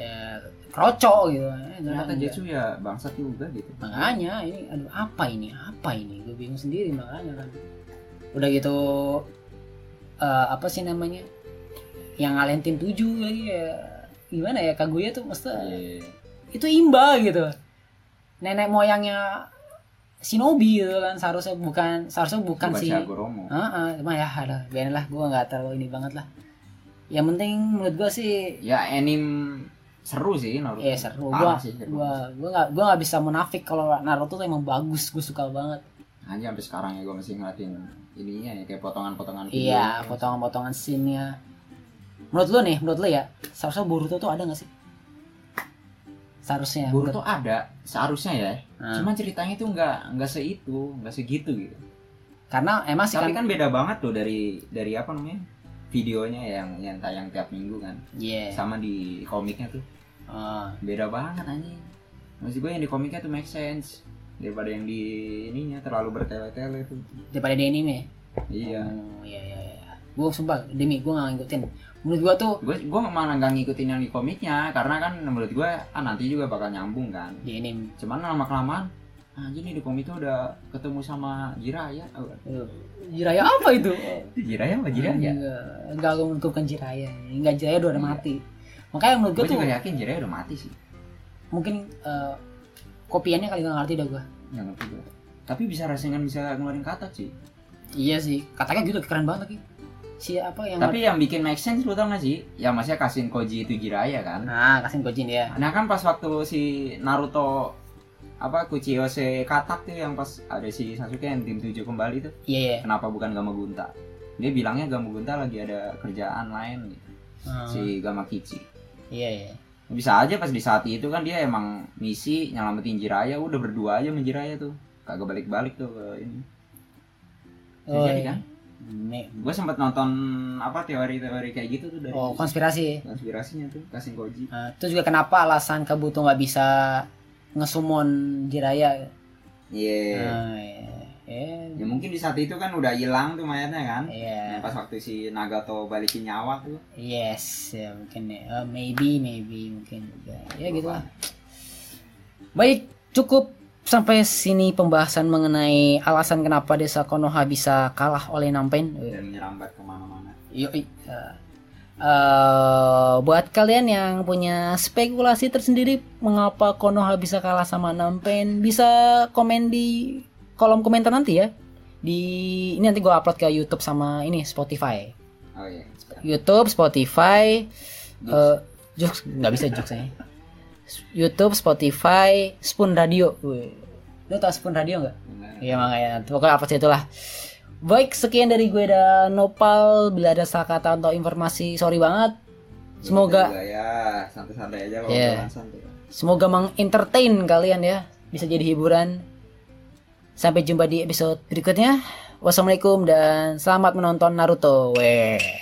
S1: eh, kroco gitu Eh,
S2: Ternyata
S1: enggak.
S2: Jetsu ya bangsat juga gitu.
S1: makanya ini aduh apa ini apa ini gue bingung sendiri makanya kan udah gitu eh, apa sih namanya yang ngalahin tim tujuh lagi ya gimana ya Kaguya tuh mesti
S2: Iya.
S1: itu imba gitu nenek moyangnya shinobi gitu kan seharusnya bukan seharusnya bukan
S2: Bukan
S1: kan si
S2: si Agoromo.
S1: Heeh, cuma ya ada biarin lah gue nggak terlalu ini banget lah yang penting menurut gue sih
S2: Ya anime seru sih Naruto.
S1: Iya, seru.
S2: Parah sih seru.
S1: gue gue nggak gue nggak bisa munafik kalau Naruto tuh emang bagus gue suka banget
S2: Anjir sampai sekarang ya gue masih ngeliatin ininya ya kayak potongan-potongan
S1: iya
S2: videonya.
S1: potongan-potongan scene-nya menurut lu nih menurut lu ya seharusnya Boruto tuh ada nggak sih seharusnya
S2: Boruto ada seharusnya ya.
S1: Nah,
S2: Cuman ceritanya tuh nggak nggak seitu, nggak segitu gitu.
S1: karena emang sih
S2: Tapi
S1: kan
S2: kan beda banget tuh dari dari apa namanya? videonya yang yang tayang tiap minggu kan
S1: iya
S2: sama di komiknya tuh
S1: Oh.
S2: beda banget anjing maksud gue yang di komiknya tuh make sense daripada yang di ininya terlalu bertele-tele tuh
S1: daripada di anime
S2: iya
S1: Oh, iya iya iya. Gue sumpah demi gue gak ngikutin. Menurut gue tuh
S2: gue gue malah nggak ngikutin yang di komiknya karena kan menurut gue ah nanti juga bakal nyambung kan
S1: di anime.
S2: cuman lama kelamaan anjir nih di komik tuh udah ketemu sama Jiraya Oh,
S1: Aduh, eh, Jiraya apa itu?
S2: Jiraya apa
S1: Enggak, gue menurut gue bukan Jiraya. Enggak Jiraya udah udah
S2: Iya.
S1: mati. Makanya menurut
S2: gue
S1: gue tuh
S2: juga ya. yakin Jiraya udah mati sih
S1: mungkin eh, kopiannya kali gak ngerti dah gue.
S2: yang ngerti gue tapi bisa rasengan bisa ngeluarin kata sih
S1: Iya sih, katanya gitu keren banget lagi. Si apa yang
S2: tapi yang bikin make sense lu tau gak sih yang masih kasihin Koji itu Jiraya kan
S1: Nah, kasih gojin ya.
S2: nah kan pas waktu si Naruto apa Kuchiyose katak tuh yang pas ada si Sasuke yang tim 7 kembali tuh
S1: Iya iya.
S2: kenapa bukan Gama Gunta dia bilangnya Gama Gunta lagi ada kerjaan lain gitu.
S1: Hmm,
S2: si Gama Kichi
S1: Iya iya.
S2: bisa aja pas di saat itu kan dia emang misi nyelamatin Jiraya udah berdua aja sama Jiraya tuh kagak balik-balik tuh ke ini Bisa
S1: Oh,
S2: jadi
S1: iya.
S2: kan
S1: Ne-
S2: gue sempet nonton apa teori-teori kayak gitu tuh dari
S1: Oh, konspirasi.
S2: konspirasinya tuh kasih koji
S1: Eh, itu juga kenapa alasan Kabuto nggak bisa ngesumon Jiraya.
S2: iya
S1: Ah, iya. Iya.
S2: ya mungkin di saat itu kan udah hilang tuh mayatnya kan Nah,
S1: Iya,
S2: pas waktu si Nagato balikin nyawa tuh
S1: yes, ya mungkin ya. Eh, maybe, maybe mungkin juga. Ya gitu lah. Baik, cukup sampai sini pembahasan mengenai alasan kenapa desa Konoha bisa kalah oleh Nampen. Eh,
S2: dan nyerambat kemana-mana
S1: Yoi. Eh, eh, buat kalian yang punya spekulasi tersendiri mengapa Konoha bisa kalah sama Nampen, bisa komen di kolom komentar nanti ya. Di ini nanti gue upload ke YouTube sama ini Spotify.
S2: oh iya
S1: YouTube, Spotify,
S2: Jux.
S1: eh Jux nggak bisa Jux saya. YouTube, Spotify, Spoon Radio. Wih. Lo tau Spoon Radio nggak?
S2: bener
S1: Iya makanya. Pokoknya apa sih itulah. Baik, sekian dari gue dan Nopal. Bila ada salah kata atau informasi, sorry banget. Semoga
S2: Juga ya santai-santai aja kalau
S1: Iya.
S2: yeah. santai
S1: semoga mengentertain kalian ya. Bisa jadi hiburan. Sampai jumpa di episode berikutnya. Wassalamualaikum dan selamat menonton Naruto. Weh.